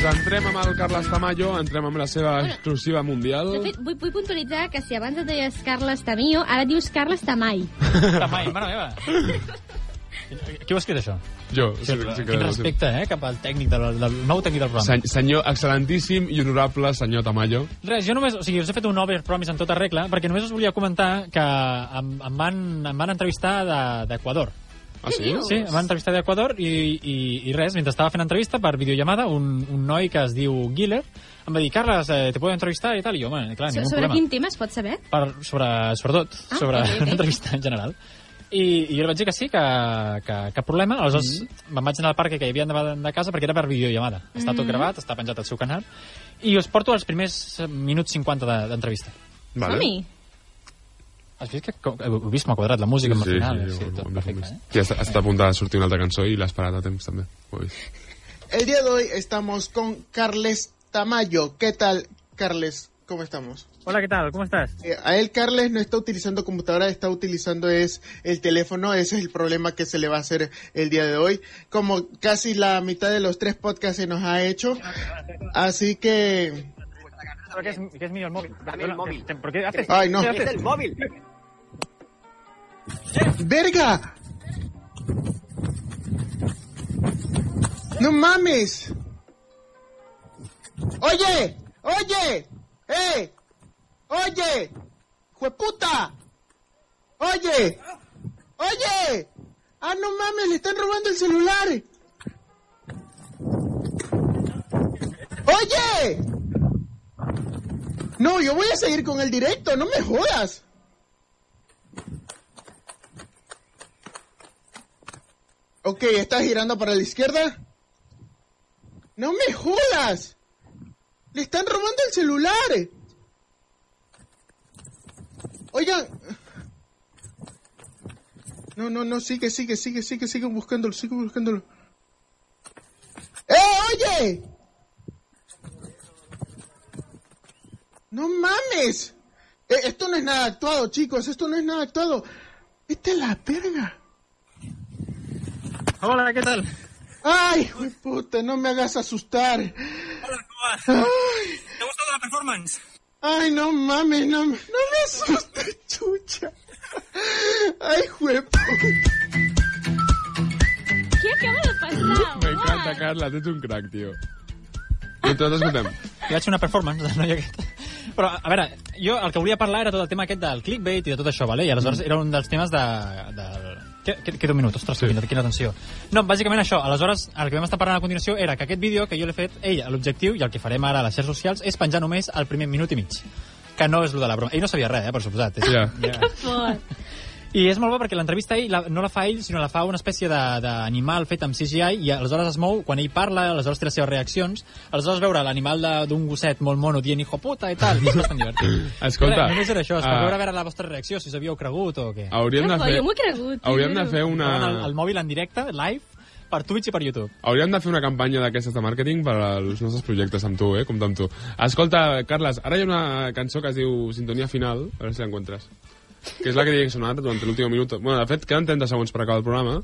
Doncs entrem amb el Carles Tamayo, entrem amb la seva Bueno. exclusiva mundial. De fet, vull, vull puntualitzar que si abans et deies Carles Tamillo, ara dius Carles Tamay. Tamai, mare meva. Qui ho ha escrit, això? Jo, sí, sí, que- Quin respecte, eh, cap al tècnic, del, del nou tècnic del programa. Sen- Senyor, excel·lentíssim i honorable senyor Tamayo. Res, jo només, o sigui, us he fet un over promise en tota regla, perquè només us volia comentar que em, em, van, em van entrevistar de- d'Equador. De, Ah, sí? dius? Sí, em van entrevistar d'Equador i, i, i res, mentre estava fent entrevista per videollamada, un, un noi que es diu Giller em va dir, Carles, eh, te puedo entrevistar i tal, i jo, home, Ah, clar, So, ningú sobre problema. quin tema es pot saber? Per, sobre, sobretot, Ah, sobre ok, ok. una entrevista en general. I, I jo li vaig dir que sí, que, que cap problema. Aleshores, mm. me'n vaig anar al parc que hi havia davant de casa perquè era per videollamada. Està Mm. tot gravat, està penjat al seu canal. I us porto els primers eh, minuts 50 de- d'entrevista. Vale. Som-hi. Has vist que co- heu vist m'ha quadrat la música amb el final? Sí, ho- ho tot hem perfecte, vist. eh? Ja està, està a punt de sortir una altra cançó i l'has parat a temps, també. Ho he vist. El día de hoy estamos con Carles Tamayo. ¿Qué tal, Carles? ¿Cómo estamos? Hola, ¿qué tal? ¿Cómo estás? Eh, a él Carles no está utilizando computadora, está utilizando es el teléfono, ese es el problema que se le va a hacer el día de hoy, como casi la mitad de los tres podcasts se nos ha hecho, así que... ¿Qué es, que es mío el móvil? Dame el móvil. Te- ¿Por qué haces? Ay, no. ¿Qué ¡Es haces? el móvil! ¡Verga! ¡No mames! ¡Oye! ¡Oye! ¡Eh! ¡Oye! ¡Jueputa! ¡Oye! ¡Oye! ¡Ah, no mames! ¡Le están robando el celular! ¡Oye! No, yo voy a seguir con el directo, no me jodas. Ok, ¿estás girando para la izquierda? ¡No me jodas! ¡Le están robando el celular! Oigan... No, no, no, sigue, sigue, sigue, sigue, sigue buscándolo, sigue buscándolo. ¡Eh, oye! ¡No mames! Eh, esto no es nada actuado, chicos, esto no es nada actuado. ¡Esta es la verga! Hola, ¿qué tal? ¡Ay, hijo de puta! No me hagas asustar. ¿Te ha gustado la performance? ¡Ay, no mames! No, me- no me asustes, chucha. ¡Ay, hijo de puta! Què acaba de Ah. passar? M'encanta, Uai. Carles, ets un crac, tio. Mentre nosaltres escoltem. I vaig fer una performance del noi aquest. Però, a veure, jo el que volia parlar era tot el tema aquest del clickbait i de tot això, vale? i aleshores mm. era un dels temes de... de... Que- que- Queda un minut, ostres, sí. quina, quina tensió. No, bàsicament això, aleshores, el que vam estar parlant a continuació era que aquest vídeo que jo l'he fet, ell, l'objectiu, i el que farem ara a les xarxes socials, és penjar només el primer minut i mig que no és lo de la broma. Ell no sabia res, eh, per suposat. És, Ja. ja. Fort. I és molt bo perquè l'entrevista ell la, no la fa ell, sinó la fa una espècie de- d'animal fet amb CGI i aleshores es mou quan ell parla, aleshores té les seves reaccions, aleshores veure l'animal de- d'un gosset molt mono dient hijo puta i tal, és bastant divertit. Escolta, Era, només era això, es ah. per veure a veure la vostra reacció, si us havíeu cregut o què. Hauríem Que de bo, fer... jo m'ho he cregut, tio. Hauríem de fer una... Veuen El, el mòbil en directe, live, per Twitch i per YouTube. Hauríem de fer una campanya d'aquestes de màrqueting per als nostres projectes amb tu, eh? Compte amb tu. Escolta, Carles, ara hi ha una cançó que es diu Sintonia Final, a veure si l'encontres. Que és la que havia sonat durant l'últim minut. Bueno, de fet, queden 30 segons per acabar el programa.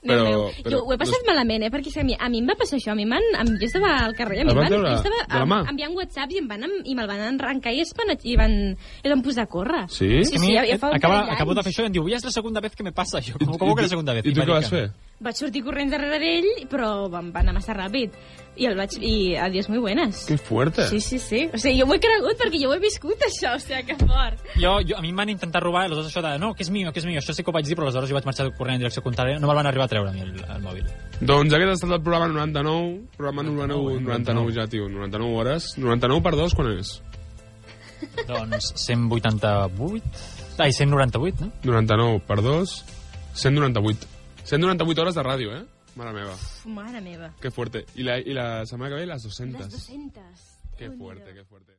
Però, Déu meu. però, jo ho he passat malament, eh? Perquè és que a mi, a mi em va passar això, a mi em van... A mi, jo estava al carrer, a mi Et em van van... treure jo estava de la em- mà? enviant whatsapps i, em van, em- i me'l van arrencar i es van, i van, i van posar a córrer. Sí? Sí, A sí, mi, ja, ja fa un acaba, parell acabo de d'anys. fer això i em diu, ja és la segunda vez que me passa això. Com, com que la segunda vez? I tu va què dir vas que no. fer? Vaig sortir corrents darrere d'ell, però van, va anar massa ràpid. I el vaig... I adiós muy buenas. Que fuerte. Sí, sí, sí. O sigui, jo m'ho he cregut perquè jo ho he viscut, això. O sigui, que fort. Jo, jo, a mi em van intentar robar, aleshores això de, no, que és mío, que és mío, això sí que ho vaig dir, però aleshores jo vaig marxar corrent en direcció contrària, no me'l van arribar a treure a mi el, el mòbil. Doncs aquest ha estat el programa 99, programa eh? 99, 99 ja, tio, 99 hores. 99 per 2, quan és? doncs 188, ai, 198, no? 99 per 2, 198. 198 hores de ràdio, eh? Mare meva, Uf, mare meva. que fuerte. I la, i la setmana que ve, les 200. Les 200. Qué Déu-n'hi-do. fuerte, qué fuerte.